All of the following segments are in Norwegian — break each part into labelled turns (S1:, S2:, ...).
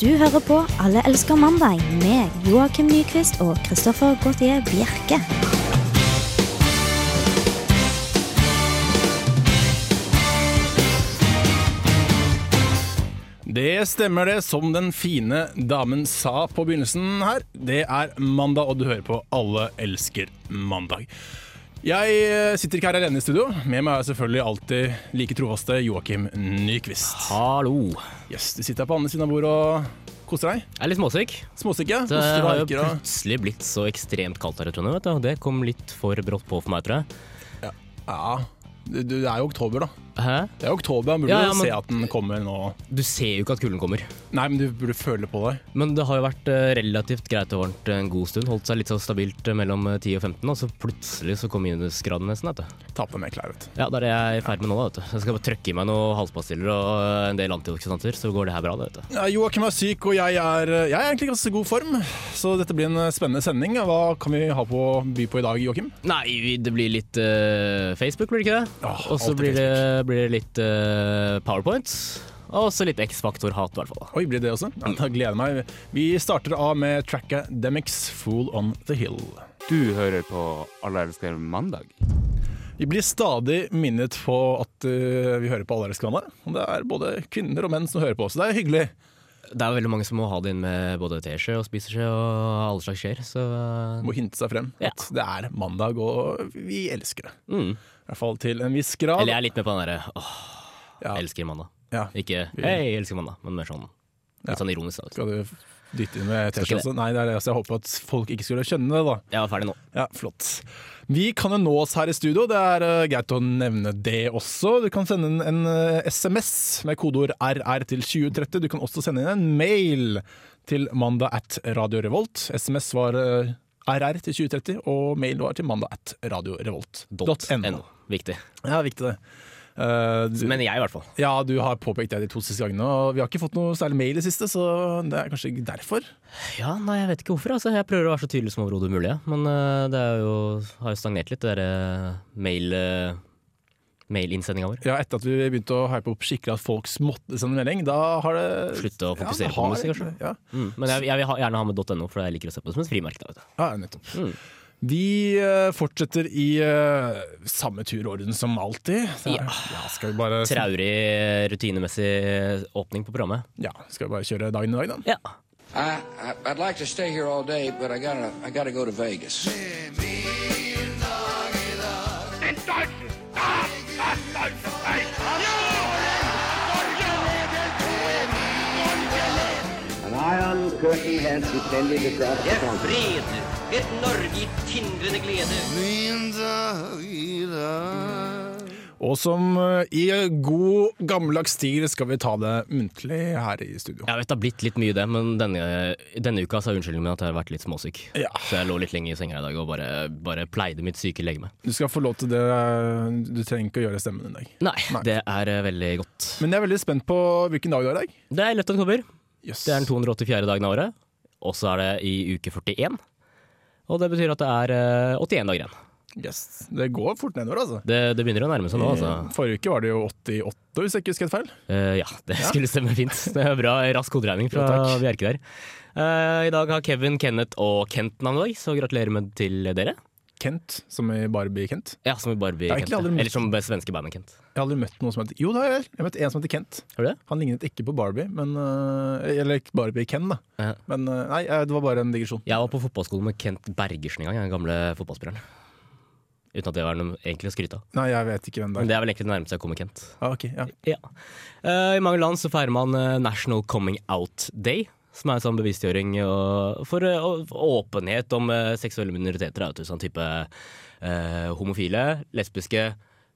S1: Du hører på Alle elsker mandag med Joakim Nyquist og Christoffer Gautier Bjerke.
S2: Det stemmer det, som den fine damen sa på begynnelsen her. Det er mandag, og du hører på Alle elsker mandag. Jeg eh, sitter ikke her alene i studio. Med meg er selvfølgelig alltid like trofaste Joakim Nyquist.
S3: Hallo.
S2: Yes, du sitter her på andre siden av bordet og koser deg.
S3: Jeg er litt småsyk.
S2: Småstykke.
S3: Det
S2: koster
S3: har
S2: deg
S3: jo
S2: ikke, da.
S3: plutselig blitt så ekstremt kaldt her i Trondheim. vet du. Det kom litt for brått på for meg, tror jeg.
S2: Ja, du- du- det er jo oktober, da.
S3: Hæ?
S2: Det er jo oktober, man burde
S3: Ja,
S2: jo
S3: ja, men-
S2: se at den kommer nå.
S3: Du ser jo ikke at kulden kommer.
S2: Nei, men du burde føle på deg.
S3: Men det har jo vært eh, relativt greit og varmt en god stund. Holdt seg litt så stabilt eh, mellom eh, 10 og 15, og så plutselig så kom minusgraden nesten. vet du.
S2: Ta på deg mer klær, vet du.
S3: Ja, der er jeg i ferd med nå. da, vet du. Jeg skal bare trøkke i meg noen halspastiller og eh, en del antioksidanter, så går det her bra. det, vet du.
S2: Ja, Joakim er syk, og jeg er, jeg er egentlig i ganske god form. Så dette blir en spennende sending. Hva kan vi ha på by på i dag, Joakim?
S3: Nei, vi- det blir litt eh, Facebook, blir det ikke det?
S2: Åh,
S3: og så
S2: alltid
S3: blir, det- blir det litt eh, PowerPoint. Og så litt X-faktor-hat, i hvert fall. da.
S2: Oi, blir det også? Ja, da gleder jeg meg. Vi starter av med Trackademics Fool on the Hill.
S4: Du hører på Alle elsker mandag.
S2: Vi blir stadig minnet på at uh, vi hører på Allerskrandet. Og det er både kvinner og menn som hører på oss. Det er hyggelig.
S3: Det er veldig mange som må ha det inn med både teskje og spiseskje og alle slags skjeer, så
S2: Må hinte seg frem
S3: Ja.
S2: at det er mandag, og vi elsker det.
S3: mm.
S2: I hvert fall til en viss grad.
S3: Eller jeg er litt med på den derre åh,
S2: Ja.
S3: elsker mandag.
S2: Ja.
S3: Ikke hei, elsker mandag, men mer sånn
S2: Ja.
S3: litt sånn ironisk. Da.
S2: Skal du dytte inn med
S3: Skal ikke
S2: T-skjorte? også? Nei, det er det. Så jeg håper at folk ikke skulle skjønne det, da.
S3: Jeg var ferdig nå.
S2: Ja, flott. Vi kan jo nå oss her i studio, det er eh, greit å nevne det også. Du kan sende en, en eh, SMS med kodeord RR til 2030. Du kan også sende inn en mail til mandag at Radio Revolt. SMS var eh, RR til 2030, og mail var til mandag at
S3: Dot
S2: radiorevolt.no.
S3: .no. Viktig.
S2: Ja, viktig det. Eh, du,
S3: Men jeg, i hvert fall.
S2: ja, du har påpekt det de to siste gangene, og vi har ikke fått noe særlig mail i siste, så det er kanskje derfor.
S3: Ja, nei, jeg vet ikke hvorfor. Altså. Jeg prøver å være så tydelig som overhodet mulig, ja. men eh, det er jo, har jo stagnert litt, det derre mail... eh, Mail-innsendinga vår.
S2: Ja, etter at vi begynte å hype opp skikkelig at folk måtte sende melding, da har det
S3: Slutte å fokusere
S2: det
S3: på
S2: har-
S3: musikk, kanskje?
S2: Ja,
S3: Mm. Men jeg, jeg vil ha, gjerne ha med .no, for jeg liker å se på det som et frimerke. da, vet du.
S2: ja nettopp.
S3: Mm.
S2: Vi eh, fortsetter i eh, samme turorden som alltid. Så-
S3: Ja. sånn.
S2: skal vi bare
S3: Traurig, rutinemessig eh, åpning på programmet.
S2: Ja, skal vi bare kjøre dagen i dag, da?
S3: Ja.
S5: I, I, I'd like to stay here all day, but I gotta, I gotta go to Vegas.
S6: An iron curtain has descended across the country.
S7: fred, et Norge i tindrende glede.
S2: Og som eh, i god gammeldags stil skal vi ta det muntlig her i studio.
S3: Jeg vet det har blitt litt mye det, men denne, denne uka så er unnskyldningen min at jeg har vært litt småsyk.
S2: Ja.
S3: Så jeg lå litt lenge i senga i dag og bare, bare pleide mitt syke legeme.
S2: Du skal få lov til det. eh, Du trenger ikke å gjøre stemmen i dag.
S3: Nei, det er eh, veldig godt.
S2: Men jeg er veldig spent på hvilken dag du har i dag.
S3: Det er 11. oktober.
S2: Yes.
S3: Det er den 284. dagen av året. Og så er det i uke 41. Og det betyr at det er eh, 81 dager igjen.
S2: yes. Det går fort nedover, altså. Eh,
S3: Det, det begynner å nærme seg nå, altså.
S2: Forrige uke var det jo 88, hvis jeg ikke husker helt feil.
S3: Eh, ja, det skulle stemme fint. Det er bra rask hoderegning fra
S2: Ja, takk.
S3: Bjerke der. Eh, I dag har Kevin, Kenneth og Kent navnedag, så gratulerer med til dere.
S2: Kent, som i Barbie-Kent.
S3: Ja, som i
S2: Jeg har
S3: Barbie-Kent.
S2: egentlig aldri møtt-
S3: Eller som svenske bandet Kent.
S2: Jeg har aldri møtt noen som heter Jo, det har jeg. vel. Jeg møtte en som heter Kent.
S3: Har du det?
S2: Han lignet ikke på Barbie, men øh, Eller ikke Barbie-Ken, da.
S3: Ja.
S2: Men øh, nei, eh, det var bare en digresjon.
S3: Jeg var på fotballskolen med Kent Bergersen en gang, den gamle fotballspilleren. Uten at det var noe egentlig å skryte av.
S2: Nei, jeg vet ikke hvem det
S3: Men
S2: er.
S3: det er vel egentlig det nærmeste jeg kommer Kent.
S2: Ah, ok, ja.
S3: Ja. Eh, I mange land så feirer man eh, National Coming Out Day, som er en sånn bevisstgjøring og- for eh, å- åpenhet om eh, seksuelle minoriteter. da, vet du, Sånn type eh, homofile, lesbiske,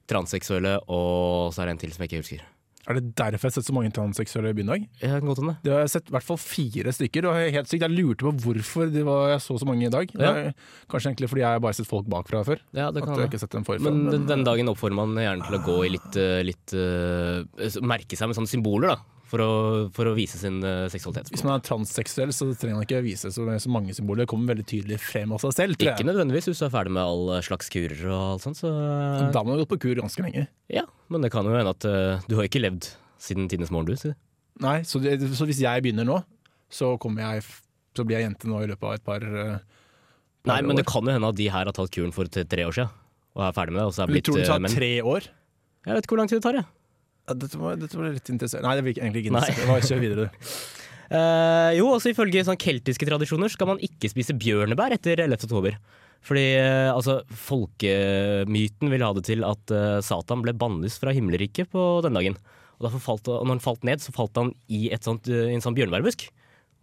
S3: transseksuelle og så er det en til som jeg ikke husker.
S2: Er det derfor jeg har sett så mange transseksuelle i byen i dag?
S3: Jeg kan godt om det.
S2: Det har jeg sett i hvert fall fire stykker. Og jeg er helt sykt, jeg lurte på hvorfor de var, jeg så så mange i dag.
S3: Ja.
S2: Det er Kanskje egentlig fordi jeg har bare sett folk bakfra før.
S3: Ja, det
S2: At
S3: kan
S2: jeg har
S3: hende.
S2: ikke sett dem forfra.
S3: Men
S2: men-
S3: den- denne dagen oppfordrer man gjerne til å gå i litt, eh, litt eh, Merke seg med sånne symboler, da. For å, for å vise sin eh, seksualitet.
S2: hvis man er transseksuell, så trenger man ikke vise så, så mange symboler. Det kommer veldig tydelig frem av seg selv. tror jeg.
S3: Ikke nødvendigvis hvis du er ferdig med all eh, slags kurer og alt sånt, så eh,
S2: Da må du ha gått på kur ganske lenge.
S3: Ja, men det kan jo hende at eh, du har ikke levd siden tidenes morgen, du. sier det.
S2: Nei, så, det, så hvis jeg begynner nå, så, kommer jeg, f- så blir jeg jente nå i løpet av et par, eh,
S3: Nei,
S2: par
S3: men det
S2: år.
S3: kan jo hende at de her har tatt kuren for t- tre år siden og er ferdig med det. Og så er
S2: Du
S3: blitt
S2: tror det
S3: eh,
S2: tar
S3: menn.
S2: tre år?
S3: Jeg vet ikke hvor lang tid det tar, jeg.
S2: Ja, dette, var, dette var litt interessant. Nei, det virker egentlig ikke
S3: Nei.
S2: interessant. Det var Kjør videre, du.
S3: Eh, jo, altså ifølge sånn keltiske tradisjoner skal man ikke spise bjørnebær etter 11. oktober. Fordi eh, altså, folkemyten vil ha det til at eh, Satan ble bannlyst fra himmelriket på den dagen. Og, derfor falt, og når han falt ned, så falt han i et sånt, eh, en sånn bjørnebærbusk.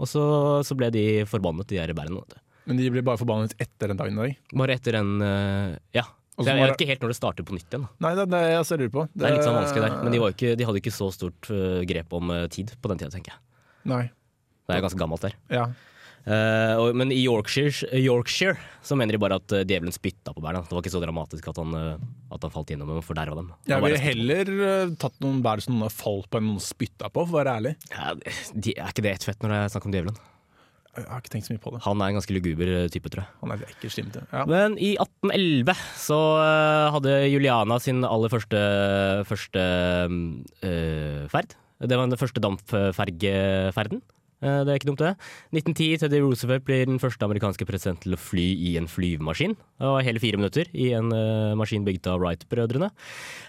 S3: Og så, så ble de forbannet, de her bærene. vet du.
S2: Men de blir bare forbannet etter den dagen i dag.
S3: Bare etter en eh, Ja.
S2: Og
S3: Så
S2: så
S3: jeg,
S2: var
S3: jeg vet
S2: det-
S3: ikke helt når det starter på nytt igjen. da.
S2: Nei, det, det, jeg ser lurer på.
S3: Det er litt sånn vanskelig der. Men de, var jo ikke, de hadde ikke så stort eh, grep om eh, tid på den tida, tenker jeg.
S2: Nei.
S3: Det er ganske gammelt der.
S2: Ja.
S3: Eh, og, men i Yorkshire, Yorkshire så mener de bare at eh, djevelen spytta på bærene. Det var ikke så dramatisk at han, eh, at han falt gjennom dem og forderva dem. Han
S2: Jeg
S3: bare
S2: ville
S3: spyttet.
S2: heller eh, tatt noen bær som noen har falt på enn noen spytta på, for å være ærlig.
S3: Ja, det- de, er ikke det ett fett når det er snakk om djevelen?
S2: Jeg har ikke tenkt så mye på det.
S3: Han er en ganske luguber eh, type, tror jeg.
S2: Han er litt ekkel slimete. Ja.
S3: Men i 1811 så eh, hadde Juliana sin aller første, første mm, eh, ferd. Det var den første dampfergeferden. Eh, det er ikke dumt, det. 1910 Teddy Roosevelt blir den første amerikanske presidenten til å fly i en flyvemaskin. Det var hele fire minutter i en eh, maskin bygd av Wright-brødrene.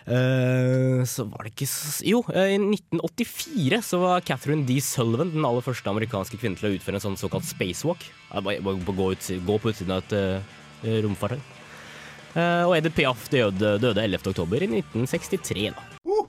S3: Eh, så var det ikke s Jo, eh, i 1984 så var Catherine D. Sullivan den aller første amerikanske kvinnen til å utføre en sånn såkalt spacewalk. Eh, bare- bare- bare Gå, ut, gå på utsiden av et eh, romfartøy. Eh, og Edith Piaf døde, døde 11. oktober i 1963. Da.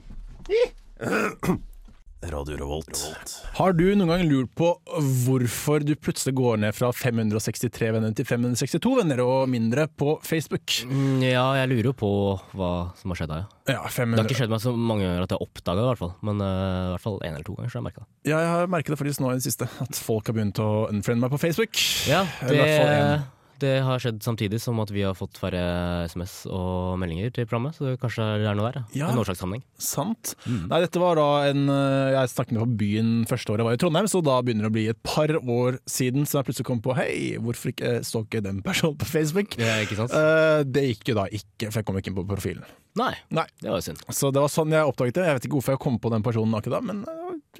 S2: Har du noen gang lurt på hvorfor du plutselig går ned fra 563 venner til 562 venner og mindre på Facebook?
S3: Mm, ja, jeg lurer jo på hva som har skjedd da.
S2: Ja,
S3: ja. Det har ikke
S2: 500.
S3: skjedd meg så mange ganger at jeg oppdaga det, i hvert fall. Men eh, i hvert fall én eller to ganger. så har jeg merket det.
S2: Ja, jeg har merket det faktisk nå i det siste, at folk har begynt å unfriende meg på Facebook.
S3: Ja,
S2: Eller i hvert fall en.
S3: det, det har skjedd samtidig som at vi har fått færre SMS og meldinger til programmet. Så det kanskje det er noe der.
S2: Ja.
S3: Ja. En årsakssammenheng.
S2: Sant.
S3: Mm.
S2: Nei, dette var da en eh, Jeg snakket med på byen første året jeg var i Trondheim, så da begynner det å bli et par år siden som jeg plutselig kom på Hei, hvorfor ikke så ikke den personen på Facebook?
S3: Ja, ikke sant?
S2: Eh, det gikk jo da ikke, for jeg kom ikke inn på profilen.
S3: Nei,
S2: Nei.
S3: det var jo synd.
S2: Så det var sånn jeg oppdaget det. Jeg vet ikke hvorfor jeg kom på den personen akkurat da, men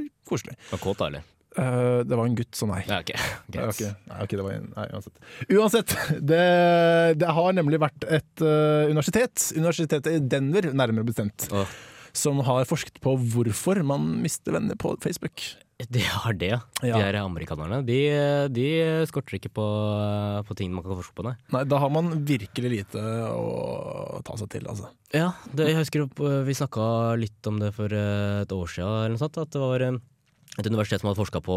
S2: eh, koselig.
S3: Var kåt, da, eller?
S2: Eh, det var en gutt, så nei.
S3: Ja, ok.
S2: Nei,
S3: Greit.
S2: ok. Nei, ok, det var en, nei, uansett. Uansett, det, det har nemlig vært et eh, universitet, universitetet i Denver nærmere bestemt,
S3: Åh.
S2: som har forsket på hvorfor man mister venner på Facebook.
S3: Det har det, ja. De
S2: Ja.
S3: her amerikanerne. De, de skorter ikke på, på ting man kan forske på, nei.
S2: Nei, da har man virkelig lite å ta seg til, altså.
S3: Ja, det, jeg husker opp, vi snakka litt om det for eh, et år siden, eller noe sånt. At det var eh, et universitet som hadde forska på,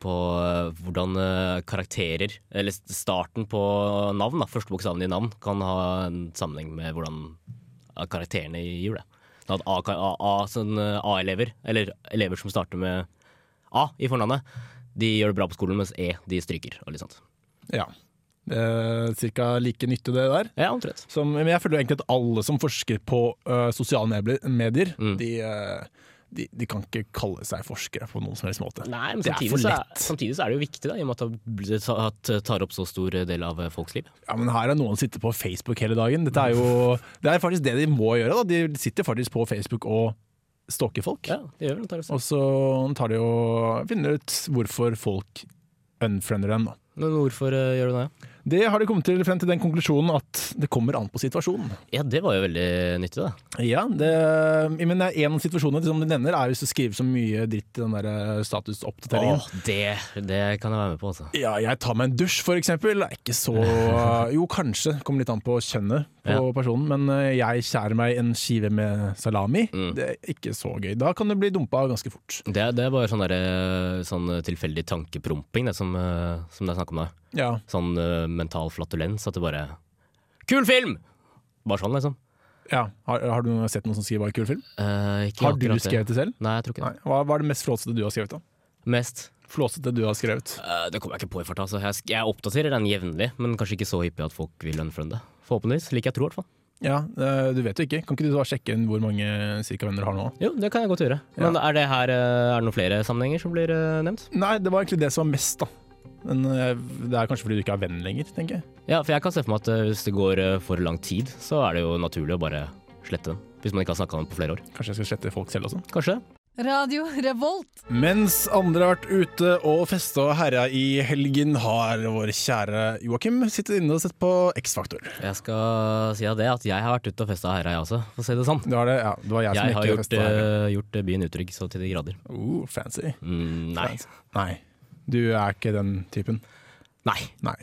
S3: på eh, hvordan eh, karakterer, eller s- starten på navn, da, første bokstaven i navn, kan ha en sammenheng med hvordan eh, karakterene i hjulet. Sånn at A- A- A- sånn, eh, A-elever, eller elever som starter med A i fornavnet, de gjør det bra på skolen, mens E de stryker. og litt sånt.
S2: Ja. Eh, cirka like nyttig det der.
S3: Ja, omtrent.
S2: Som, men jeg føler jo egentlig at alle som forsker på ø, sosiale medier, medier
S3: Mm.
S2: de, ø, de, de kan ikke kalle seg forskere på noen som helst måte.
S3: Nei, men
S2: Det er
S3: samtidig,
S2: for
S3: så er,
S2: lett.
S3: samtidig så er det jo viktig, da, i og med at det ta- at det tar opp så stor eh, del av folks liv.
S2: Ja, men her er noen som sitter på Facebook hele dagen. Dette er jo, det er faktisk det de må gjøre. Da. De sitter faktisk på Facebook og stalker folk.
S3: Ja, det gjør det antageligvis.
S2: Og så tar de og finner ut hvorfor folk unfriender dem. Da.
S3: Men hvorfor eh, gjør du det?
S2: Det har de kommet til frem til den konklusjonen at det kommer an på situasjonen.
S3: Ja, det var jo veldig nyttig, da.
S2: Ja, det, men det er en av situasjonene som de nevner, er hvis du skriver så mye dritt i den der eh, statusoppdateringen.
S3: Åh, det, det kan jeg være med på, altså.
S2: Ja, jeg tar meg en dusj, for eksempel. Er ikke så Jo, kanskje. Kommer litt an på kjønnet på
S3: Ja.
S2: personen. Men eh, jeg skjærer meg en skive med salami. Det er ikke så gøy. Da kan du bli dumpa ganske fort.
S3: Det, det er bare sånn, der, eh, sånn tilfeldig tankepromping det som, eh, som det er snakk om da.
S2: Ja.
S3: Sånn eh, mental flatulens, at det bare Kul film! Bare sånn, liksom.
S2: ja. Har, har du sett noen som skriver bare kul film?
S3: Eh, ikke
S2: Har du
S3: akkurat det.
S2: skrevet det selv?
S3: Nei, jeg tror ikke
S2: Nei.
S3: det.
S2: Hva, hva er det mest flåsete du har skrevet, da?
S3: Mest.
S2: Flåsete du har skrevet?
S3: Eh, det kommer jeg ikke på i farta. Altså. Jeg, sk- jeg oppdaterer den jevnlig, men kanskje ikke så hyppig at folk vil unfriende. Forhåpentligvis. Like jeg tror, i hvert fall.
S2: Ja, eh, du vet jo ikke. Kan ikke du bare sjekke inn hvor mange cirka venner du har nå?
S3: Jo, det kan jeg godt gjøre. Men er det her eh, er det noen flere sammenhenger som blir eh, nevnt?
S2: Nei, det var egentlig det som var mest, da. Men eh, det er kanskje fordi du ikke er venn lenger, tenker jeg.
S3: Ja, for jeg kan se for meg at eh, hvis det går eh, for lang tid, så er det jo naturlig å bare slette den. Hvis man ikke har snakka om den på flere år.
S2: Kanskje jeg skal slette folk selv også.
S3: Kanskje.
S8: Radio Revolt.
S2: Mens andre har vært ute og festa og herja i helgen, har vår kjære Joakim sittet inne og sett på X-Faktor.
S3: Jeg skal si av det at jeg har vært ute og festa her, jeg også, for å si det sånn.
S2: Det var det, ja. Det var jeg,
S3: Jeg
S2: som
S3: har
S2: ikke
S3: gjort,
S2: festa her.
S3: eh, gjort byen utrygg så til de grader.
S2: Oh, fancy.
S3: Mm, nei.
S2: Fancy. Nei. Du er ikke den typen.
S3: nei.
S2: Nei.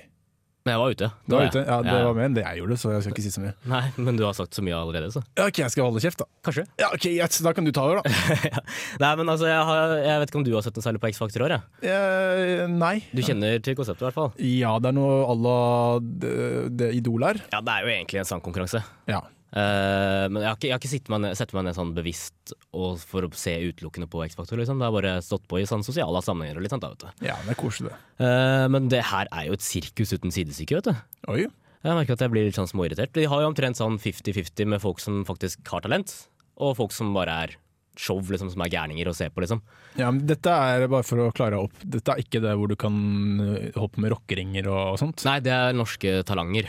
S3: Men jeg var ute.
S2: Du
S3: var
S2: var
S3: jeg.
S2: ute. Ja, det
S3: Ja.
S2: var mer enn det jeg gjorde, så jeg skal ikke si så mye.
S3: Nei, men du har sagt så mye allerede, så.
S2: Ja, OK, jeg skal holde kjeft, da.
S3: Kanskje.
S2: Ja, ok, greit, så Da kan du ta over, da.
S3: Nei, men altså, jeg, har, jeg vet ikke om du har sett noe særlig på X-Factor i år, jeg.
S2: Eh, nei.
S3: Du kjenner til konseptet, i hvert fall.
S2: Ja, det er noe à la det, det Idol er.
S3: Ja, det er jo egentlig en sangkonkurranse.
S2: Ja.
S3: Eh, men jeg har ikke, jeg har ikke sittet meg ned, sett meg ned sånn bevisst og for å se utelukkende på X-Faktor. Liksom. Det har bare stått på i sånn sosiale sammenhenger. og litt sånt, da, vet du.
S2: ja, det er koselig, det.
S3: Eh, men det her er jo et sirkus uten sidestykke, vet du.
S2: Oi.
S3: Jeg merker at jeg blir litt sånn småirritert. De har jo omtrent sånn 50-50 med folk som faktisk har talent, og folk som bare er show, liksom, som er gærninger å se på, liksom.
S2: Ja, men Dette er bare for å klare opp. Dette er ikke det hvor du kan eh, hoppe med rockeringer og sånt.
S3: Nei, det er norske talanger.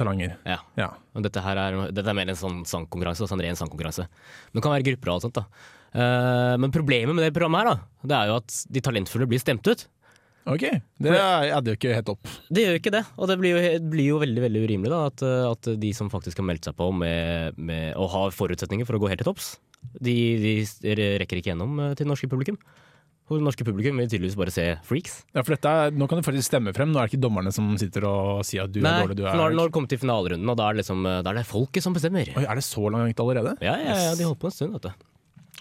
S2: Talanger.
S3: Ja.
S2: Ja.
S3: Men dette, her er, dette er mer en sånn sangkonkurranse, sånn ren sangkonkurranse. Men det kan være grupper og alt sånt, da. Eh, men problemet med det programmet her, da, det er jo at de talentfulle blir stemt ut.
S2: OK. Det er- adder jo ikke helt opp.
S3: Det gjør jo ikke det, og det blir jo, det blir jo veldig veldig urimelig da, at, eh, at de som faktisk har meldt seg på med, med, og har forutsetninger for å gå helt til topps, de, de rekker ikke gjennom eh, til det norske publikum. Og det norske publikum vil tydeligvis bare se freaks.
S2: Ja, for dette er, Nå kan du faktisk stemme frem. Nå er det ikke dommerne som sitter og sier at du
S3: Nei,
S2: er dårlig, du
S3: for
S2: er
S3: nå har det kommet til finalerunden, og da er, det liksom, eh, da er det folket som bestemmer.
S2: Oi, Er det så langt allerede?
S3: Ja, ja, ja de holdt på en stund, vet du.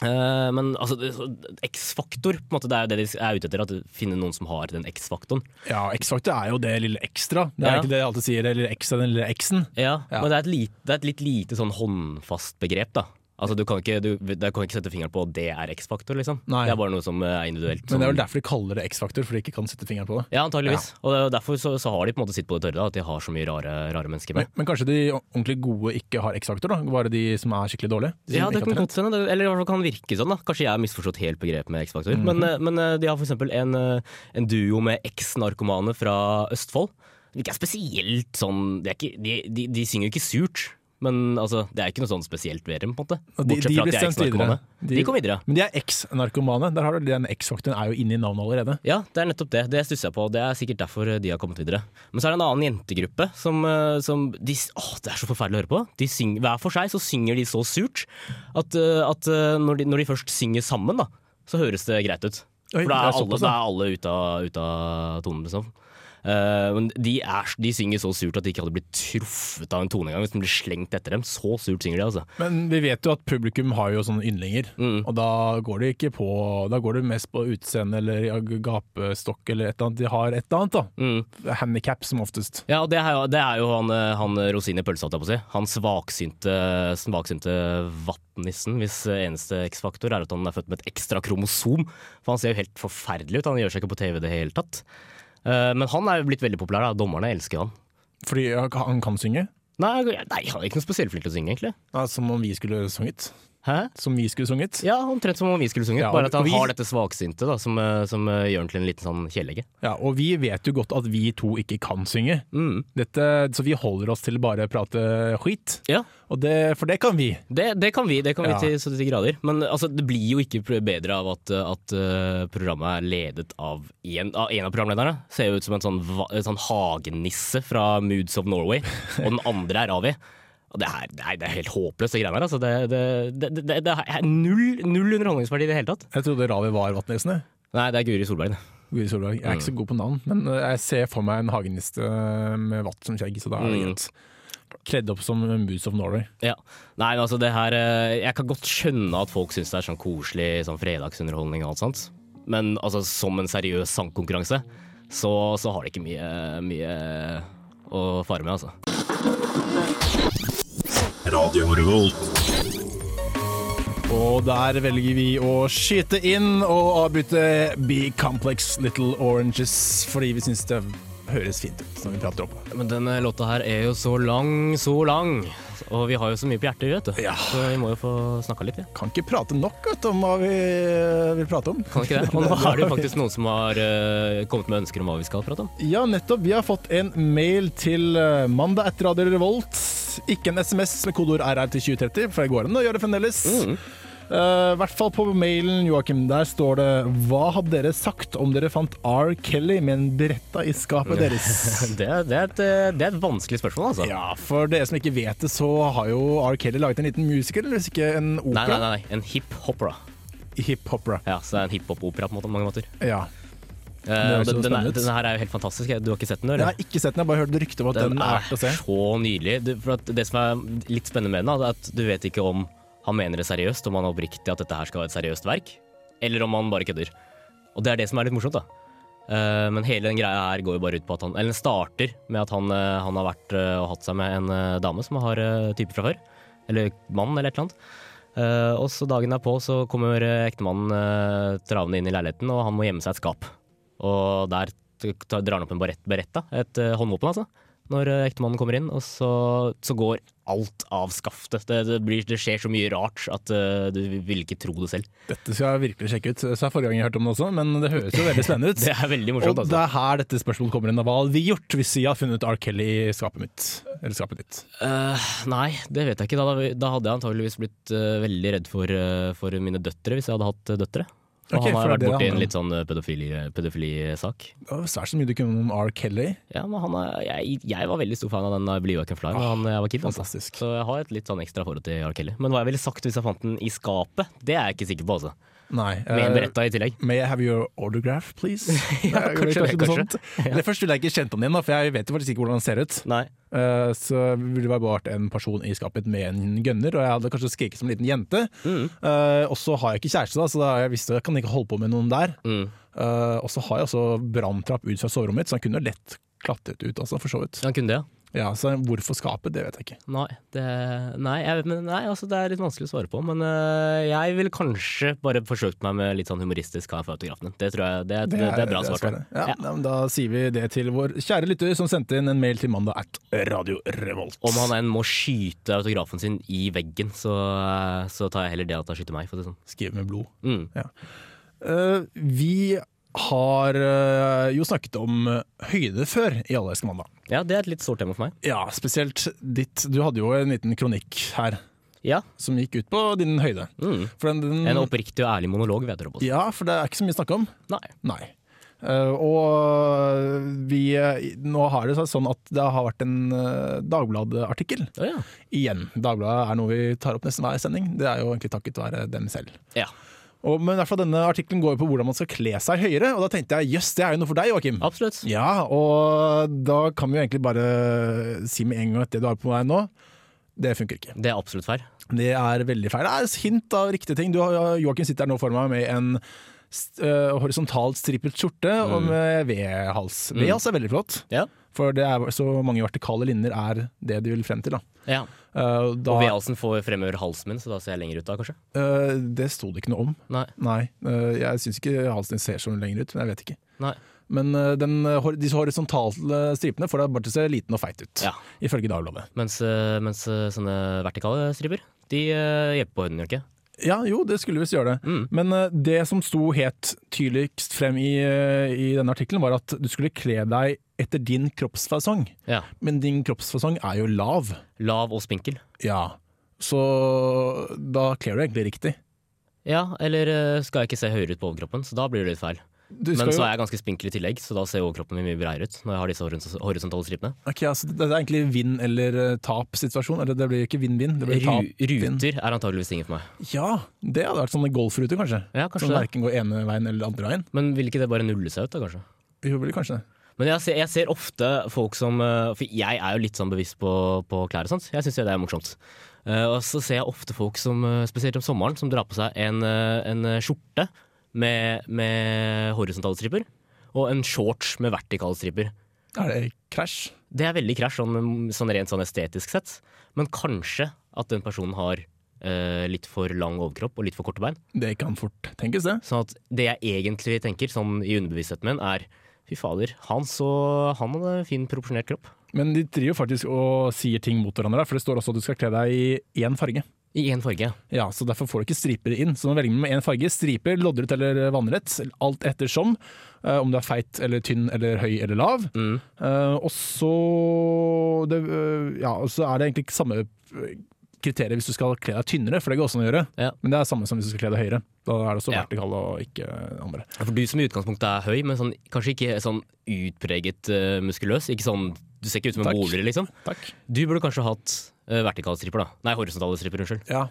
S3: Eh, men altså, det- så- X-faktor, på en måte, det er jo det de er ute etter, at finne noen som har den X-faktoren.
S2: Ja, X-faktor er jo det lille ekstra. Det er
S3: Ja.
S2: ikke det jeg alltid sier, det lille ekstra, den lille X-en.
S3: Ja,
S2: Ja.
S3: men det er, et lite, det er et litt lite sånn håndfast begrep, da. Altså, du kan ikke, du, du kan ikke sette fingeren på at det er X-faktor, liksom.
S2: Nei.
S3: Det er bare noe som eh, er
S2: Men
S3: individuelt.
S2: det er
S3: som-
S2: vel derfor de kaller det X-faktor, fordi de ikke kan sette fingeren på det.
S3: Ja, antageligvis. Og det er jo derfor så, så har de på en måte sitt på det tørre, da, at de har så mye rare, rare mennesker med.
S2: Men, men kanskje de ordentlig gode ikke har X-faktor, da? Bare de som er skikkelig dårlige? De som
S3: Ja,
S2: ikke
S3: det kan
S2: har talent.
S3: godt hende. det- Eller i hvert fall kan virke sånn. da Kanskje jeg har misforstått helt begrepet med X-faktor.
S2: Mhm.
S3: men, eh, men eh, de har for eksempel en, eh, en duo med eks-narkomane fra Østfold. De ikke er spesielt sånn de, er ikke, de, de, de synger jo ikke surt. Men altså, det er ikke noe sånn spesielt ved dem, på en måte.
S2: Og de- de
S3: Bortsett fra at
S2: blir
S3: de er
S2: sendt videre.
S3: eks-narkomane.
S2: De-
S3: de kom videre.
S2: Men de er eks-narkomane. Der har du Den X-faktoren er jo inne i navnet allerede.
S3: Ja, det er nettopp det. Det stusser jeg på. og Det er sikkert derfor eh, de har kommet videre. Men så er det en annen jentegruppe som, eh, som de, åh, Det er så forferdelig å høre på. De syng, hver for seg så synger de så surt at, eh, at eh, når, de, når de først synger sammen, da, så høres det greit ut.
S2: Oi,
S3: For
S2: det
S3: da er
S2: er
S3: alle,
S2: såpass,
S3: da
S2: ja.
S3: er alle ute av, ut av tonen, liksom. Eh, men de, er, de synger så surt at de ikke hadde blitt truffet av en tone engang hvis den ble slengt etter dem. Så surt synger de, altså.
S2: Men vi vet jo at publikum har jo sånne yndlinger, og da går det ikke på Da går det mest på utseende eller gapestokk eller et eller annet. De har et eller annet, da. Handicap som oftest.
S3: Ja, og det er jo, det er jo han, eh, han rosin i pølsa, holdt jeg på å si. Han svaksynte, svaksynte vattnissen, hvis eneste X-faktor er at han er født med et ekstra kromosom. For han ser jo helt forferdelig ut, han gjør seg ikke på TV i det hele tatt. Eh, Men han er jo blitt veldig populær, da. Dommerne elsker jo han.
S2: Fordi han kan synge.
S3: Nei, nei, han er ikke noe spesielt flink til å synge, egentlig.
S2: Ja, som om vi skulle sunget.
S3: Hæ?
S2: Som vi skulle sunget.
S3: Ja, omtrent som om vi skulle sunget,
S2: Ja,
S3: bare at
S2: og
S3: han
S2: vi-
S3: har dette svaksynte da, som, eh, som eh, gjør han til en liten sånn kjelegge.
S2: Ja, og vi vet jo godt at vi to ikke kan synge,
S3: Mm.
S2: Dette, så vi holder oss til bare å prate skit.
S3: Ja,
S2: Og det, for det kan vi.
S3: Det, det kan vi, det kan vi
S2: Ja.
S3: til så til de grader. Men altså, det blir jo ikke pr- bedre av at, at eh, programmet er ledet av en, av en av programlederne. Ser jo ut som en sånn, va- en sånn hagenisse fra Moods of Norway, og den andre er Ravi. Og det, her, nei, det er helt håpløst, de greiene her. Altså. Det, det, det, det, det er null, null underholdningsverdi i det hele tatt.
S2: Jeg trodde Ravi var Vatnesene.
S3: Nei, det er Guri Solberg, det.
S2: Guri Solberg. Jeg er ikke så god på navn, men eh, jeg ser for meg en hageniste med vatt som skjegg, så da er det
S3: Mm.
S2: greit. Kledd opp som Moose of Norway.
S3: Ja. Nei, men altså det her eh, Jeg kan godt skjønne at folk syns det er sånn koselig sånn fredagsunderholdning og alt sånt, men altså som en seriøs sangkonkurranse, så, så har det ikke mye, mye eh, å fare med, altså.
S2: Og der velger vi å skyte inn og avbytte B-Complex Little Oranges, fordi vi syns det høres fint ut når vi prater opp.
S3: Men denne låta her er jo så lang, så lang, og vi har jo så mye på hjertet, vi, vet du.
S2: Ja.
S3: Så vi må jo få snakka litt, vi. Ja.
S2: Kan ikke prate nok vet, du, om hva vi vil prate om.
S3: Kan ikke det? Og nå er det jo faktisk noen som har eh, kommet med ønsker om hva vi skal prate om.
S2: Ja, nettopp. Vi har fått en mail til eh, mandag etter
S3: Mm.
S2: Radio Revolt. Ikke en SMS med kodeord RR til 2030, for det går an å gjøre det fremdeles. Eh, I hvert fall på mailen, Joakim, der står det Hva hadde dere sagt om dere fant R. Kelly med en beretta i skapet deres?
S3: Det, er- det, er et, eh, det er et vanskelig spørsmål, altså.
S2: Ja, for dere som ikke vet det, så har jo R. Kelly laget en liten musical, eller hvis ikke en
S3: Nei, nei,
S2: opera?
S3: nei, nei. en hiphopera.
S2: Hip-hopera.
S3: Ja, så det er en hiphop-opera på en måte, på mange måter.
S2: Ja.
S3: Eh,
S2: høres
S3: og den,
S2: jo
S3: den,
S2: spennende
S3: er,
S2: ut.
S3: den her er jo helt fantastisk. Du har ikke sett den,
S2: Jeg
S3: eller?
S2: har ikke sett den, jeg har bare hørt rykter om at den, er verdt å se.
S3: så nydelig. Du, for at det som er litt spennende med den, da, er at du vet ikke om han mener det seriøst, om han er oppriktig at dette her skal være et seriøst verk, eller om han bare kødder. Og det er det som er litt morsomt, da. Eh, men hele den greia her går jo bare ut på at han Eller den starter med at han, eh, han har vært eh, og hatt seg med en eh, dame som har eh, type fra før. Eller mann, eller et eller annet. Eh, og så dagen derpå så kommer eh, ektemannen eh, travende inn i leiligheten, og han må gjemme seg i et skap. Og der t- ta- drar han opp en barett, beretta, et eh, håndvåpen altså, når eh, ektemannen kommer inn. Og så, så går alt av skaftet. Det, det, blir, det skjer så mye rart at eh, du vil ikke tro det selv.
S2: Dette skal jeg virkelig sjekke ut. Så er forrige gang jeg hørte om det også, men det høres jo veldig spennende ut.
S3: Det er veldig morsomt,
S2: og det
S3: altså.
S2: er her dette spørsmålet kommer inn. Hva hadde vi gjort hvis vi hadde funnet R. Kelly i skapet mitt? Eller skapet ditt.
S3: Eh, nei, det vet jeg ikke. Da, da, vi- da hadde jeg antageligvis blitt eh, veldig redd for, eh, for mine døtre, hvis jeg hadde hatt eh, døtre. For
S2: Ok,
S3: han har
S2: for
S3: vært
S2: det er det
S3: borti
S2: han-
S3: en litt sånn eh, pedofili- pedofilisak.
S2: Det var svært så mye du kunne om R. Kelly.
S3: ja, men han er, jeg, jeg var veldig stor fan av den da jeg ble Joachim Fly da han- jeg var kid. Altså.
S2: fantastisk.
S3: Så jeg har et litt sånn ekstra forhold til R. Kelly. Men hva jeg ville sagt hvis jeg fant den i skapet, det er jeg ikke sikker på. altså.
S2: Nei.
S3: Med en
S2: eh,
S3: beretta i tillegg.
S2: May I have your autograph, please? Det
S3: Ja,
S2: er vel
S3: kanskje det,
S2: noe
S3: kanskje.
S2: sånt. Eller først ville jeg ikke kjent ham igjen, da, for jeg vet jo faktisk ikke hvordan han ser ut.
S3: Nei.
S2: Eh, så ville det bare vært en person i skapet med en gønner, og jeg hadde kanskje skriket som en liten jente.
S3: Mm.
S2: Eh, og så har jeg ikke kjæreste, da, så da har jeg visst at jeg kan ikke holde på med noen der.
S3: Mm.
S2: Eh, og så har jeg også branntrapp ut fra soverommet mitt, så han kunne lett klatret ut, altså, for så vidt.
S3: Han kunne det, ja.
S2: Ja, så hvorfor skapet, det vet jeg ikke.
S3: Nei, det, nei, jeg, men, nei altså, det er litt vanskelig å svare på. Men øh, jeg ville kanskje bare forsøkt meg med litt sånn humoristisk hva jeg får autografen din. Det tror jeg, det, det, det, er bra svar. tror jeg.
S2: svaret. Ja,
S3: Ja.
S2: ja. men Da sier vi det til vår kjære lytter som sendte inn en mail til mandag at Radio Revolt.
S3: Om han enn må skyte autografen sin i veggen, så, øh, så tar jeg heller det at han skyter meg. For å si det sånn.
S2: Skriv med blod.
S3: mm.
S2: Eh, vi har eh, jo snakket om eh, høyde før i Allerske mandag.
S3: Ja, det er et litt stort tema for meg.
S2: Ja, spesielt ditt. Du hadde jo en liten kronikk her
S3: Ja.
S2: som gikk ut på din høyde.
S3: Mm.
S2: For den, den,
S3: En oppriktig og ærlig monolog, vet dere. på.
S2: ja, for det er ikke så mye å snakke om.
S3: Nei.
S2: Nei. Eh, og vi eh, Nå har det seg sånn at det har vært en uh, Dagbladet-artikkel
S3: Å ja.
S2: igjen. Dagbladet er noe vi tar opp nesten hver sending. Det er jo egentlig takket være dem selv.
S3: ja.
S2: Og, men i hvert fall denne artikkelen går jo på hvordan man skal kle seg høyere, og da tenkte jeg jøss, det er jo noe for deg, Joakim.
S3: Absolutt.
S2: Ja, og da kan vi jo egentlig bare si med en gang at det du har på deg nå, det funker ikke.
S3: Det er absolutt feil.
S2: Det er veldig feil. Det er hint av riktige ting. Du, har- Joakim sitter her nå for meg med en st- øh, horisontalt strippet skjorte og med V-hals. V-hals er veldig flott,
S3: Mm. Ja.
S2: for det er så mange vertikale linjer er det de vil frem til. Da.
S3: ja.
S2: Eh, da
S3: Og V-halsen får fremover halsen min, så da ser jeg lenger ut da, kanskje.
S2: Eh, det sto det ikke noe om.
S3: Nei.
S2: Nei, eh, jeg syns ikke halsen din ser sånn lenger ut, men jeg vet ikke.
S3: Nei.
S2: Men eh, den, eh, hor- disse horisontale stripene får deg bare til å se liten og feit ut,
S3: Ja.
S2: ifølge Dagbladet.
S3: Mens, øh, mens øh, sånne vertikale striper, de øh, hjelper på høyden, gjør de ikke?
S2: Ja, jo, det skulle visst gjøre det.
S3: Mm.
S2: Men eh, det som sto helt tydeligst frem i, eh, i denne artikkelen, var at du skulle kle deg etter din kroppsfasong.
S3: Ja.
S2: Men din kroppsfasong er jo lav.
S3: Lav og spinkel.
S2: Ja. Så da kler du egentlig riktig.
S3: Ja, eller øh, skal jeg ikke se høyere ut på overkroppen, så da blir det litt feil.
S2: Du
S3: Men
S2: skal
S3: så
S2: jo-
S3: er jeg ganske spinkel i tillegg, så da ser overkroppen min mye breiere ut når jeg har disse horis- horisontale stripene.
S2: Ok, altså, det er egentlig vinn- eller eh, tap-situasjon. Eller det blir ikke vinn-vinn, det blir
S3: Ru
S2: tap.
S3: ruter er antageligvis tingen for meg.
S2: Ja, det hadde vært sånne golfruter, kanskje.
S3: Ja, kanskje
S2: Som
S3: det.
S2: verken går ene veien eller andre veien.
S3: Men vil ikke det bare nulle seg ut, da, kanskje?
S2: Jo, vel, kanskje det.
S3: Men jeg ser, jeg ser ofte folk som eh, For jeg er jo litt sånn bevisst på, på klær og sånt. Jeg syns jo det er morsomt. Eh, og så ser jeg ofte folk som, eh, spesielt om sommeren, som drar på seg en, eh, en eh, skjorte med, med horisontale striper. Og en shorts med vertikale striper.
S2: Er det krasj?
S3: Det er veldig krasj, sånn, sånn rent sånn estetisk sett. Men kanskje at den personen har eh, litt for lang overkropp og litt for korte bein.
S2: Det kan fort tenkes, det.
S3: Sånn at det jeg egentlig tenker, sånn i underbevisstheten min, er fy fader, han så Han hadde en fin proporsjonert kropp.
S2: Men de driver faktisk og sier ting mot hverandre, for det står også at du skal kle deg i én farge.
S3: I én farge.
S2: Ja, så Derfor får du ikke striper inn. Så du må velge med én farge. Striper, loddrett eller vannrett. Alt ettersom. eh, om du er feit eller tynn eller høy eller lav.
S3: Mm.
S2: Eh, og så det, eh, Ja, og så er det egentlig ikke samme eh, kriteriet hvis du skal kle deg tynnere, for det går også an å gjøre.
S3: Ja.
S2: Men det er samme som hvis du skal kle deg høyere. Da er det også
S3: Ja.
S2: vertikal og ikke andre.
S3: Ja, For du som i utgangspunktet er høy, men sånn, kanskje ikke sånn utpreget eh, muskuløs. Ikke sånn, du ser ikke ut som en
S2: Takk.
S3: boler, liksom.
S2: Takk.
S3: Du burde kanskje hatt eh, vertikale stripper, da. Nei, horisontale stripper, unnskyld.
S2: Ja.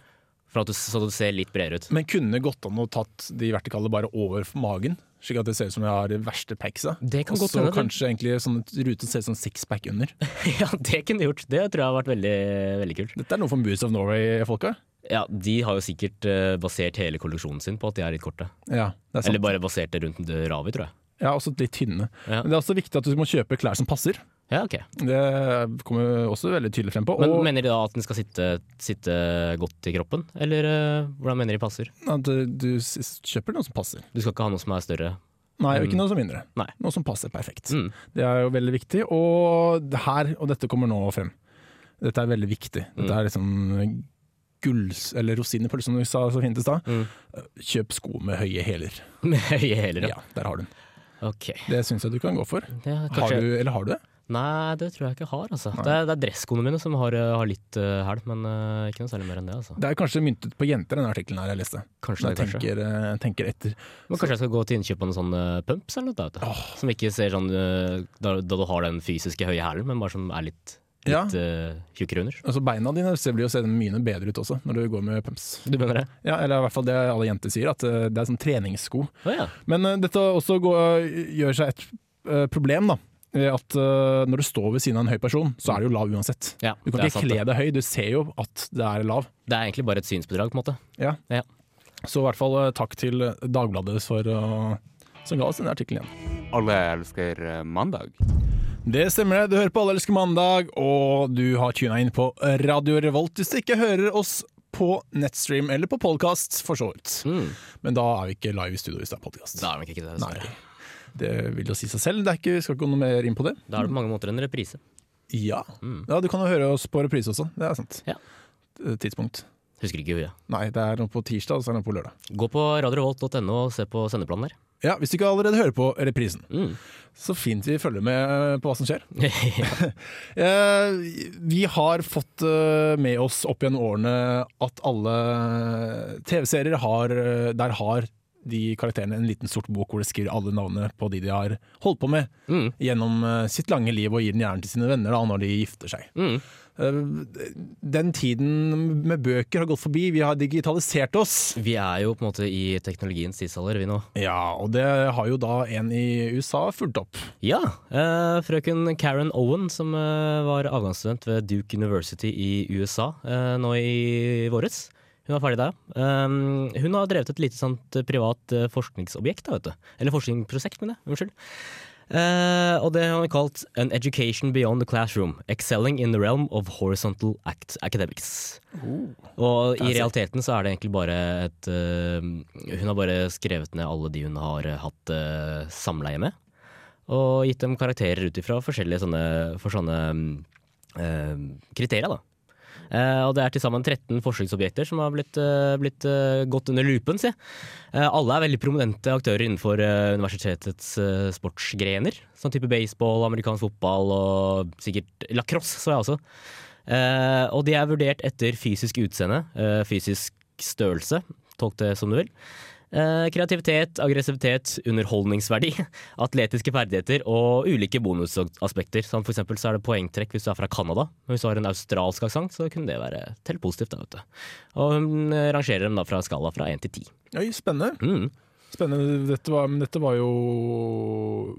S3: For at du, så du ser litt bredere ut.
S2: Men kunne det gått an å tatt de vertikale bare over magen? Slik at det ser ut som jeg har de verste packsa.
S3: Det kan
S2: Og
S3: godt
S2: så
S3: hende, det.
S2: kanskje egentlig sånn at ruten ser ut som sixpack under.
S3: ja, det kunne du gjort. Det tror jeg har vært veldig, veldig kult.
S2: Dette er noe for Moose of Norway-folka.
S3: Ja, de har jo sikkert eh, basert hele kolleksjonen sin på at de er litt korte.
S2: Ja, det er sant.
S3: Eller bare basert det rundt Ravi, tror jeg.
S2: Ja, også litt tynne.
S3: Ja.
S2: Men det er også viktig at du må kjøpe klær som passer.
S3: Ja, ok.
S2: Det kommer også veldig tydelig frem på.
S3: Men
S2: og
S3: mener de da at den skal sitte, sitte godt i kroppen? Eller eh, hvordan mener de passer?
S2: at eh, du s- kjøper noe som passer.
S3: Du skal ikke ha noe som er større.
S2: Nei, og ikke noe som mindre.
S3: Mm. Nei.
S2: Noe som passer perfekt.
S3: Mm.
S2: Det er jo veldig viktig, og det her, og dette kommer nå frem. Dette er veldig viktig. Dette
S3: Mm.
S2: er liksom gulls, eller rosinepølse, som du sa så fint i stad.
S3: Mm.
S2: Kjøp sko med høye hæler.
S3: Med høye hæler,
S2: Ja.
S3: ja.
S2: der har du den.
S3: Ok.
S2: Det syns jeg du kan gå for.
S3: Ja,
S2: Har
S3: kanskje-
S2: du, eller har du det?
S3: Nei, det tror jeg ikke jeg har. Altså. Det, er, det er dresskoene mine som har, eh, har litt uh, hæl, men eh, ikke noe særlig mer enn det. Altså.
S2: Det er kanskje myntet på jenter, denne artikkelen her jeg leste.
S3: Kanskje
S2: Når
S3: det,
S2: jeg
S3: kanskje.
S2: tenker, eh, tenker etter.
S3: Men kanskje jeg skal gå til innkjøp av noen sånne pumps eller noe, da, vet du. som ikke ser sånn eh, da, da du har den fysiske høye hælen, men bare som er litt, litt
S2: Ja.
S3: eh, tjukkere under.
S2: Altså Beina dine ser- blir jo se mye bedre ut også, når du går med pumps.
S3: Du mener det?
S2: Ja, eller i hvert fall det alle jenter sier, at eh, det er sånn treningssko.
S3: Å ja.
S2: Men eh, dette også går, gjør seg et eh, problem, da. ved At eh, når du står ved siden av en høy person, så er du jo lav uansett.
S3: Ja,
S2: du
S3: det
S2: kan
S3: er
S2: ikke
S3: sant,
S2: kle deg høy, du ser jo at det er lav.
S3: Det er egentlig bare et synsbedrag, på en måte.
S2: Ja.
S3: Ja.
S2: Så i hvert fall eh, takk til Dagbladet for å- som ga oss denne artikkelen igjen.
S4: Alle elsker eh, mandag.
S2: Det stemmer det. Du hører på Alle elsker mandag, og du har tuna inn på Radio Revolt hvis du ikke hører oss på nettstream eller på podkast, for så vidt. Men da er vi ikke live i studio hvis det er podkast.
S3: Da er Mm. det nok ikke det.
S2: Nei.
S3: dessverre.
S2: Det vil jo si seg selv. Det er ikke, vi skal ikke gå noe mer inn på det.
S3: Da er det på mange måter en reprise.
S2: Ja. ja, du kan jo høre oss på reprise også. Det er sant.
S3: Ja.
S2: Eh, Tidspunkt.
S3: Husker ikke huet.
S2: Nei, det er noe på tirsdag, og så er det noe på lørdag.
S3: Gå på radiorevolt.no og se på sendeplanen der.
S2: Ja, Hvis du ikke allerede hører på reprisen,
S3: Mm.
S2: så fint vi følger med på hva som skjer.
S3: ja.
S2: Eh, vi har fått eh, med oss opp gjennom årene at alle TV-serier har eh, Der har de karakterene en liten sort bok hvor de skriver alle navnene på de de har holdt på med
S3: Mm.
S2: gjennom eh, sitt lange liv, og gir den gjerne til sine venner da, når de gifter seg.
S3: Mm.
S2: Eh, Den tiden med bøker har gått forbi. Vi har digitalisert oss.
S3: Vi er jo på en måte i teknologiens tidsalder, vi nå.
S2: Ja, og det har jo da en i USA fulgt opp.
S3: Ja, eh, frøken Karen Owen, som eh, var avgangsstudent ved Duke University i USA eh, nå i våres. Hun er ferdig der. Um, hun har drevet et lite sånt eh, privat eh, forskningsobjekt, da, vet du. Eller forskningsprosjekt, mener jeg. Unnskyld. Eh, og det har hun kalt An Education Beyond the Classroom. Excelling in the Realm of Horizontal act Academics. Og i realiteten så er det egentlig bare et eh, Hun har bare skrevet ned alle de hun har eh, hatt eh, samleie med og gitt dem karakterer ut ifra forskjellige sånne, for sånne mm, eh, kriterier. Da. Eh, og det er til sammen 13 forskningsobjekter som har blitt, eh, blitt eh, gått under lupen. Si. Eh, alle er veldig prominente aktører innenfor eh, universitetets eh, sportsgrener. Sånn type baseball, amerikansk fotball og sikkert lacrosse, så jeg også. Eh, og de er vurdert etter fysisk utseende, eh, fysisk størrelse, tolk det som du vil. Eh, Kreativitet, aggressivitet, underholdningsverdi, atletiske ferdigheter og ulike bonusaspekter. Som for eksempel så er det poengtrekk hvis du er fra Canada. Men hvis du har en australsk aksent, så kunne det være til positivt. Da, vet du. Og hun eh, rangerer dem da fra skala fra én til ti.
S2: Oi, spennende.
S3: Mm.
S2: spennende. Dette var, men dette var jo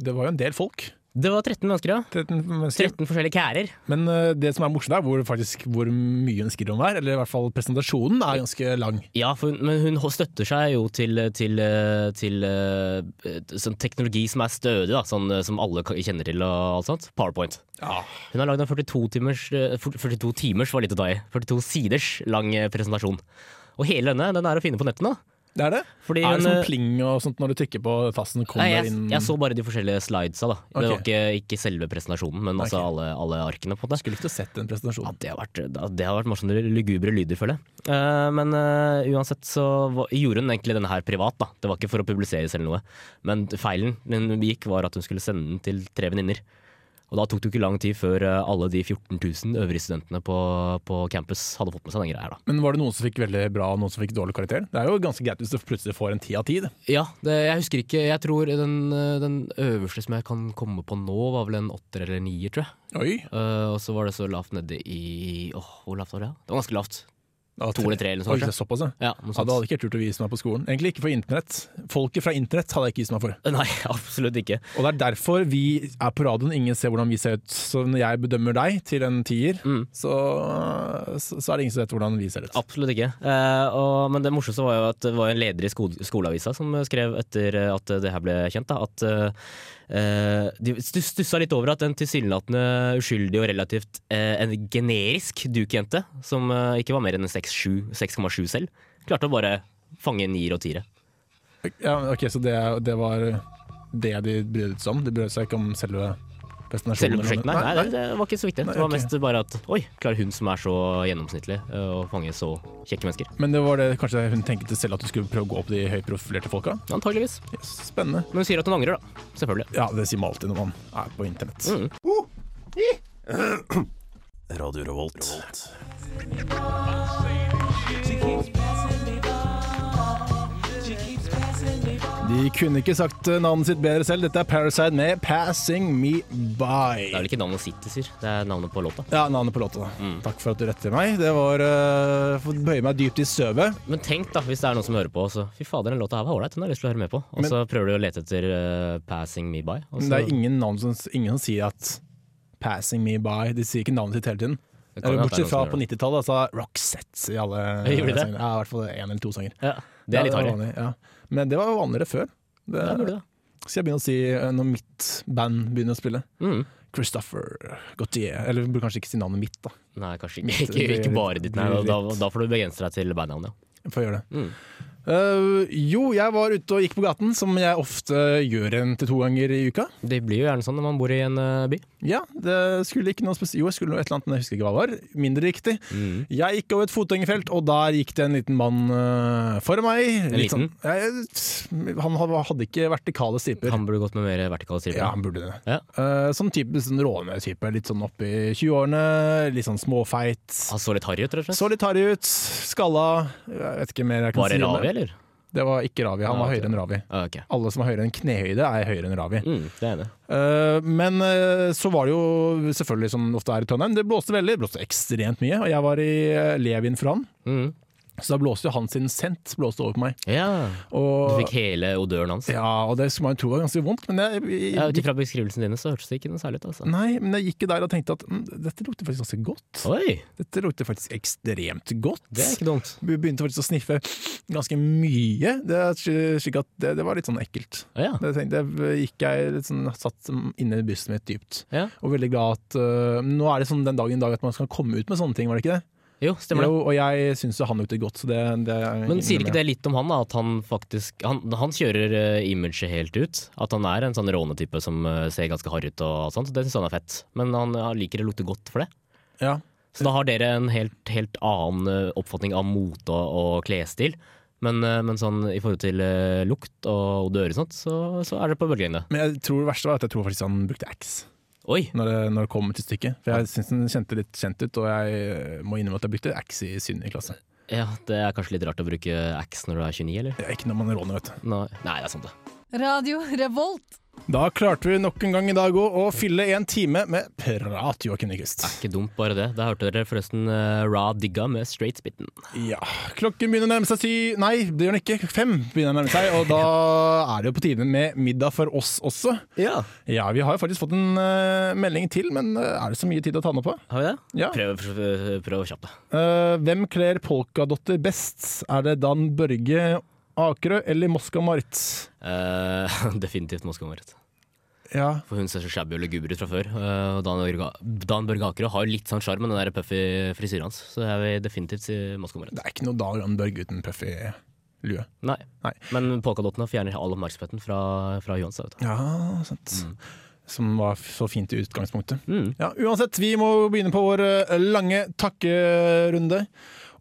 S2: Det var jo en del folk.
S3: Det var 13 mennesker, ja.
S2: 13 mennesker.
S3: 13 forskjellige kærer.
S2: Men eh, det som er morsomt, er hvor, faktisk, hvor mye hun skriver om hver. Eller i hvert fall presentasjonen er ganske lang.
S3: Ja, for hun, men hun støtter seg jo til, til, eh, til eh, sånn teknologi som er stødig, da, sånn, eh, som alle ka- kjenner til og alt sånt. PowerPoint. Hun har lagd en 42 timers, eh, 42 timers var litt å ta i, 42 siders lang eh, presentasjon. Og hele denne den er å finne på nettene.
S2: Det er det.
S3: Fordi
S2: er det
S3: hun,
S2: sånn
S3: eh,
S2: pling og sånt når du trykker på tasten? Kommer
S3: Nei, jeg,
S2: inn
S3: jeg så bare de forskjellige slidesa. da Det var
S2: Ok.
S3: ikke, ikke selve presentasjonen, men altså
S2: Ok.
S3: alle, alle arkene. på det
S2: Skulle ikke sett den presentasjonen.
S3: Det har vært, det har vært morsomme lugubre lyder, føler jeg. Eh, men eh, uansett så var- gjorde hun egentlig denne her privat, da. Det var ikke for å publiseres eller noe. Men feilen hun begikk, var at hun skulle sende den til tre venninner. Og da tok det jo ikke lang tid før eh, alle de 14 000 øvrige studentene på, på campus hadde fått med seg den greia her, da.
S2: Men var det noen som fikk veldig bra, og noen som fikk dårlig karakter? Det er jo ganske greit hvis du plutselig får en ti av ti. det.
S3: Ja, det, jeg husker ikke. Jeg tror den, eh, den øverste som jeg kan komme på nå, var vel en åtter eller nier, tror jeg.
S2: Oi!
S3: Eh, og så var det så lavt nede i Åh, hvor lavt var det? da? Det var ganske lavt.
S2: det var
S3: To eller tre eller noe
S2: Oi,
S3: sånt.
S2: det er Såpass, ja.
S3: Ja,
S2: Ja,
S3: noe sånt.
S2: det hadde ikke jeg turt å vise meg på skolen. Egentlig ikke for internett. Folket fra internett hadde jeg ikke vist meg for.
S3: Nei, absolutt ikke.
S2: Og det er derfor vi er på radioen, ingen ser hvordan vi ser ut. Så når jeg bedømmer deg til en tier,
S3: Mm.
S2: så, så så er det ingen som vet hvordan vi ser ut.
S3: Absolutt ikke. Eh, og, men det morsomste var jo at det var en leder i sko skoleavisa som skrev etter eh, at det her ble kjent, da, at eh, de stu- stussa litt over at en tilsynelatende uskyldig og relativt eh, en generisk Duke-jente, som eh, ikke var mer enn en 6,7 6,7 selv, klarte å bare fange nier og tiere.
S2: Ja, ok, Så det, det var det de brydde seg om? De brydde seg ikke om selve presentasjonen?
S3: Selve prosjektet? Nei, nei,
S2: nei.
S3: det var ikke så viktig.
S2: Nei,
S3: det var
S2: ok.
S3: mest bare at oi, klarer hun som er så gjennomsnittlig eh, å fange så kjekke mennesker?
S2: Men det var det kanskje hun tenkte selv, at du skulle prøve å gå opp de høyprofilerte folka?
S3: Antageligvis.
S2: Yes, spennende.
S3: Men hun sier at hun angrer, da. Selvfølgelig. Mm.
S2: Ja, det sier man alltid når man er på internett.
S8: Radio Revolt.
S2: De kunne ikke sagt eh, navnet sitt bedre selv. Dette er Parasite med 'Passing Me By'.
S3: Det Mm. er vel ikke navnet City sier, det er navnet på låta.
S2: Ja, navnet på låta. da. Takk for at du retter meg. Det var eh, for å bøye meg dypt i støvet.
S3: Men tenk da, hvis det er noen som hører på, så fy fader, den låta her var ålreit, den har jeg lyst til å høre med på. Og så prøver du å lete etter eh, 'Passing Me By'. Og
S2: Men
S3: så,
S2: det er ingen navn som, ingen som sier at 'passing me by'. De sier ikke navnet sitt hele tiden.
S3: Det kan
S2: Eller,
S3: hende at det er
S2: bortsett fra
S3: noen som
S2: på 90-tallet, altså Roxette i alle
S3: Gjorde de det?
S2: sangene. Ja, I hvert fall én eller to sanger.
S3: ja, det er litt
S2: Ja,
S3: hardt.
S2: vanlig, ja. Men det var jo vanligere før. Det,
S3: Ja, burde det.
S2: skal jeg begynne å si eh, når mitt band begynner å spille.
S3: Mm.
S2: Christopher Gautier. Eller burde kanskje ikke si navnet mitt, da.
S3: Nei, kanskje ikke, ikke, ikke bare ditt, nei,
S2: Blir
S3: da,
S2: litt-
S3: da får du begrense deg til bandnavnet. Ja. Mm.
S2: Jeg får gjøre det. Eh, jo, jeg var ute og gikk på gaten, som jeg ofte gjør en til to ganger i uka.
S3: Det blir jo gjerne sånn når man bor i en eh, by.
S2: Ja, det skulle ikke noe spesielt Jo, jeg skulle noe et eller annet, men jeg husker ikke hva det var. Mindre riktig. Jeg gikk over et fotgjengerfelt, og der gikk det en liten mann øh, foran meg. Litt
S3: liten?
S2: Sånn, jeg, han hadde- hadde ikke vertikale striper.
S3: Han burde gått med mer vertikale striper.
S2: Ja, han burde det.
S3: Ja.
S2: Eh, sånn type sånn råne type. Litt sånn oppi 20-årene, litt sånn småfeit.
S3: Han Ah, så litt harry ut, rett og slett.
S2: Så litt harry ut, skalla. Jeg vet ikke mer jeg kan
S3: Var det
S2: si. om
S3: Ravi, eller?
S2: Det var ikke Ravi. Han
S3: Ja,
S2: var
S3: ok.
S2: høyere enn Ravi.
S3: Ah, Ok,
S2: Alle som er høyere enn knehøyde, er høyere enn Ravi.
S3: mm, det er jeg enig. i.
S2: Eh, men eh, så var det jo selvfølgelig som det ofte er i Trondheim, det blåste veldig. Det blåste ekstremt mye. Og jeg var i eh, Levin for han,
S3: Mm.
S2: så da blåste jo han sin sent blåste over på meg.
S3: Ja, du
S2: Og,
S3: fikk hele odøren hans.
S2: ja, og det skulle man jo tro var ganske vondt, men jeg,
S3: Ja, Ut ifra beskrivelsene dine så hørtes det ikke noe særlig ut, altså.
S2: Nei, men jeg gikk jo der og tenkte at mm, dette lukter faktisk ganske godt.
S3: Oi,
S2: Dette lukter faktisk ekstremt godt.
S3: det er ikke dumt.
S2: Vi begynte faktisk å sniffe ganske mye, det, er sli- slik at det, det var litt sånn ekkelt.
S3: Å, Ja.
S2: Det tenkte jeg, gikk jeg litt sånn, satt inne i bussen mitt dypt.
S3: Ja.
S2: Og veldig glad at øh, Nå er det sånn den dagen i dag at man skal komme ut med sånne ting, var det ikke det?
S3: Jo, stemmer det.
S2: Jo, og jeg syns jo han lukter godt, så det, det
S3: Men sier ikke det litt om han, da? At han faktisk Han, han kjører eh, imaget helt ut. At han er en sånn rånetype som eh, ser ganske harry ut og sånt. Det syns han er fett. Men han, han liker det lukter godt for det.
S2: Ja.
S3: Så da har dere en helt, helt annen eh, oppfatning av mote og, og klesstil. Men, eh, men sånn i forhold til eh, lukt og odør og sånt, så, så er det på bølgelengde.
S2: Men jeg tror det verste var at jeg tror faktisk han brukte Axe
S3: Oi!
S2: når det, når det kom til stykket. For jeg syns den kjente litt kjent ut, og jeg øh, må innrømme at jeg brukte Axe i synd i klasse.
S3: Ja, det er kanskje litt rart å bruke axe når du er 29, eller?
S2: Det er ikke når man er råner, vet du.
S3: Nei, Nei det er sant, det.
S9: Radio Revolt.
S2: Da klarte vi nok en gang i dag òg å fylle en time med prat, Joakim Nyquist.
S3: Ikke dumt, bare det. Da hørte dere forresten eh, Ra Digga med Straight Spitten.
S2: Ja, klokken begynner å nærme seg sy... Nei, det gjør den ikke. Fem begynner å nærme seg, og da er det jo på tide med middag for oss også.
S3: Ja.
S2: Ja, vi har jo faktisk fått en eh, melding til, men eh, er det så mye tid å ta nå på?
S3: Har vi det?
S2: Ja.
S3: Prøv, prøv kjapt, da.
S2: Eh, hvem kler polkadotter best? Er det Dan Børge Akerø eller Moska Marit?
S3: Eh, definitivt Moskva-Marit.
S2: Ja,
S3: For hun ser så shabby og luguber ut fra før. eh, og Dan Børge- Dan Børge Akerø har litt sånn sjarm med den der puffy frisyren hans, så jeg vil definitivt si Moskva-Marit.
S2: det er ikke noe Dan Børge uten puffy lue.
S3: Nei.
S2: Nei.
S3: Men polkadottene fjerner all oppmerksomheten fra, fra Johanstad. vet du.
S2: Ja, sant. Mm. Som var f- så fint i
S3: Mm,
S2: utgangspunktet. Ja, uansett, vi må begynne på vår eh, lange takkerunde.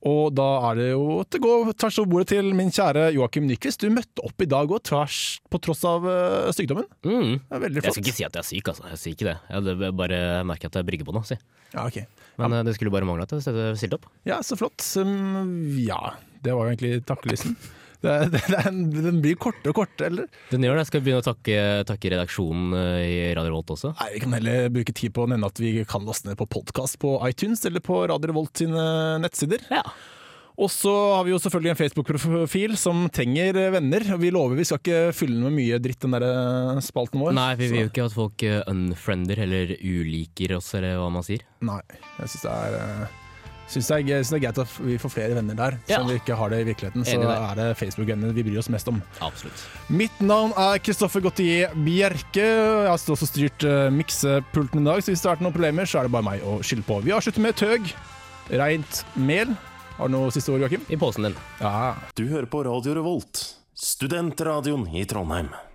S2: Og da er det jo til å gå tvers over bordet til min kjære Joakim Nyquist. Du møtte opp i dag òg, tvers på tross av eh, sykdommen.
S3: Mm.
S2: Det er veldig
S3: Jeg skal
S2: flott.
S3: ikke si at jeg er syk, altså. Jeg sier ikke det. Jeg hadde bare merker at jeg brygger på noe, si.
S2: Ja, ok.
S3: Men eh, det skulle bare mangle at jeg stilte- stilte opp.
S2: ja, så flott. Um, ja, det var jo egentlig takkelysten. Det, det, det, er en- den blir kortere og kortere, eller?
S3: Den gjør det. Jeg skal begynne å takke, takke redaksjonen eh, i Radio Rolt også.
S2: Nei, Vi kan heller bruke tid på å nevne at vi kan laste ned på podkast på iTunes eller på Radio Revolt sine nettsider.
S3: Ja.
S2: Og så har vi jo selvfølgelig en Facebook-profil som trenger venner. Vi lover vi skal ikke fylle den med mye dritt, den der eh, spalten vår.
S3: Nei, vi vil jo
S2: Så-
S3: ikke at folk eh, unfriender eller uliker oss, eller hva man sier.
S2: Nei, jeg syns det er eh, Synes det, er, jeg synes det er greit at vi får flere venner der,
S3: Ja.
S2: selv om vi ikke har det i virkeligheten. Så
S3: Enig der.
S2: er det Facebook-vennene vi bryr oss mest om.
S3: Absolutt.
S2: Mitt navn er Kristoffer Gautier Bjerke. Jeg har også styrt eh, miksepulten i dag, så hvis det har vært noen problemer, så er det bare meg å skylde på. Vi avslutter med tøg, reint mel. Har du noe siste ord, Joakim?
S3: I posen din.
S2: Ja.
S8: Du hører på Radio Revolt, studentradioen i Trondheim.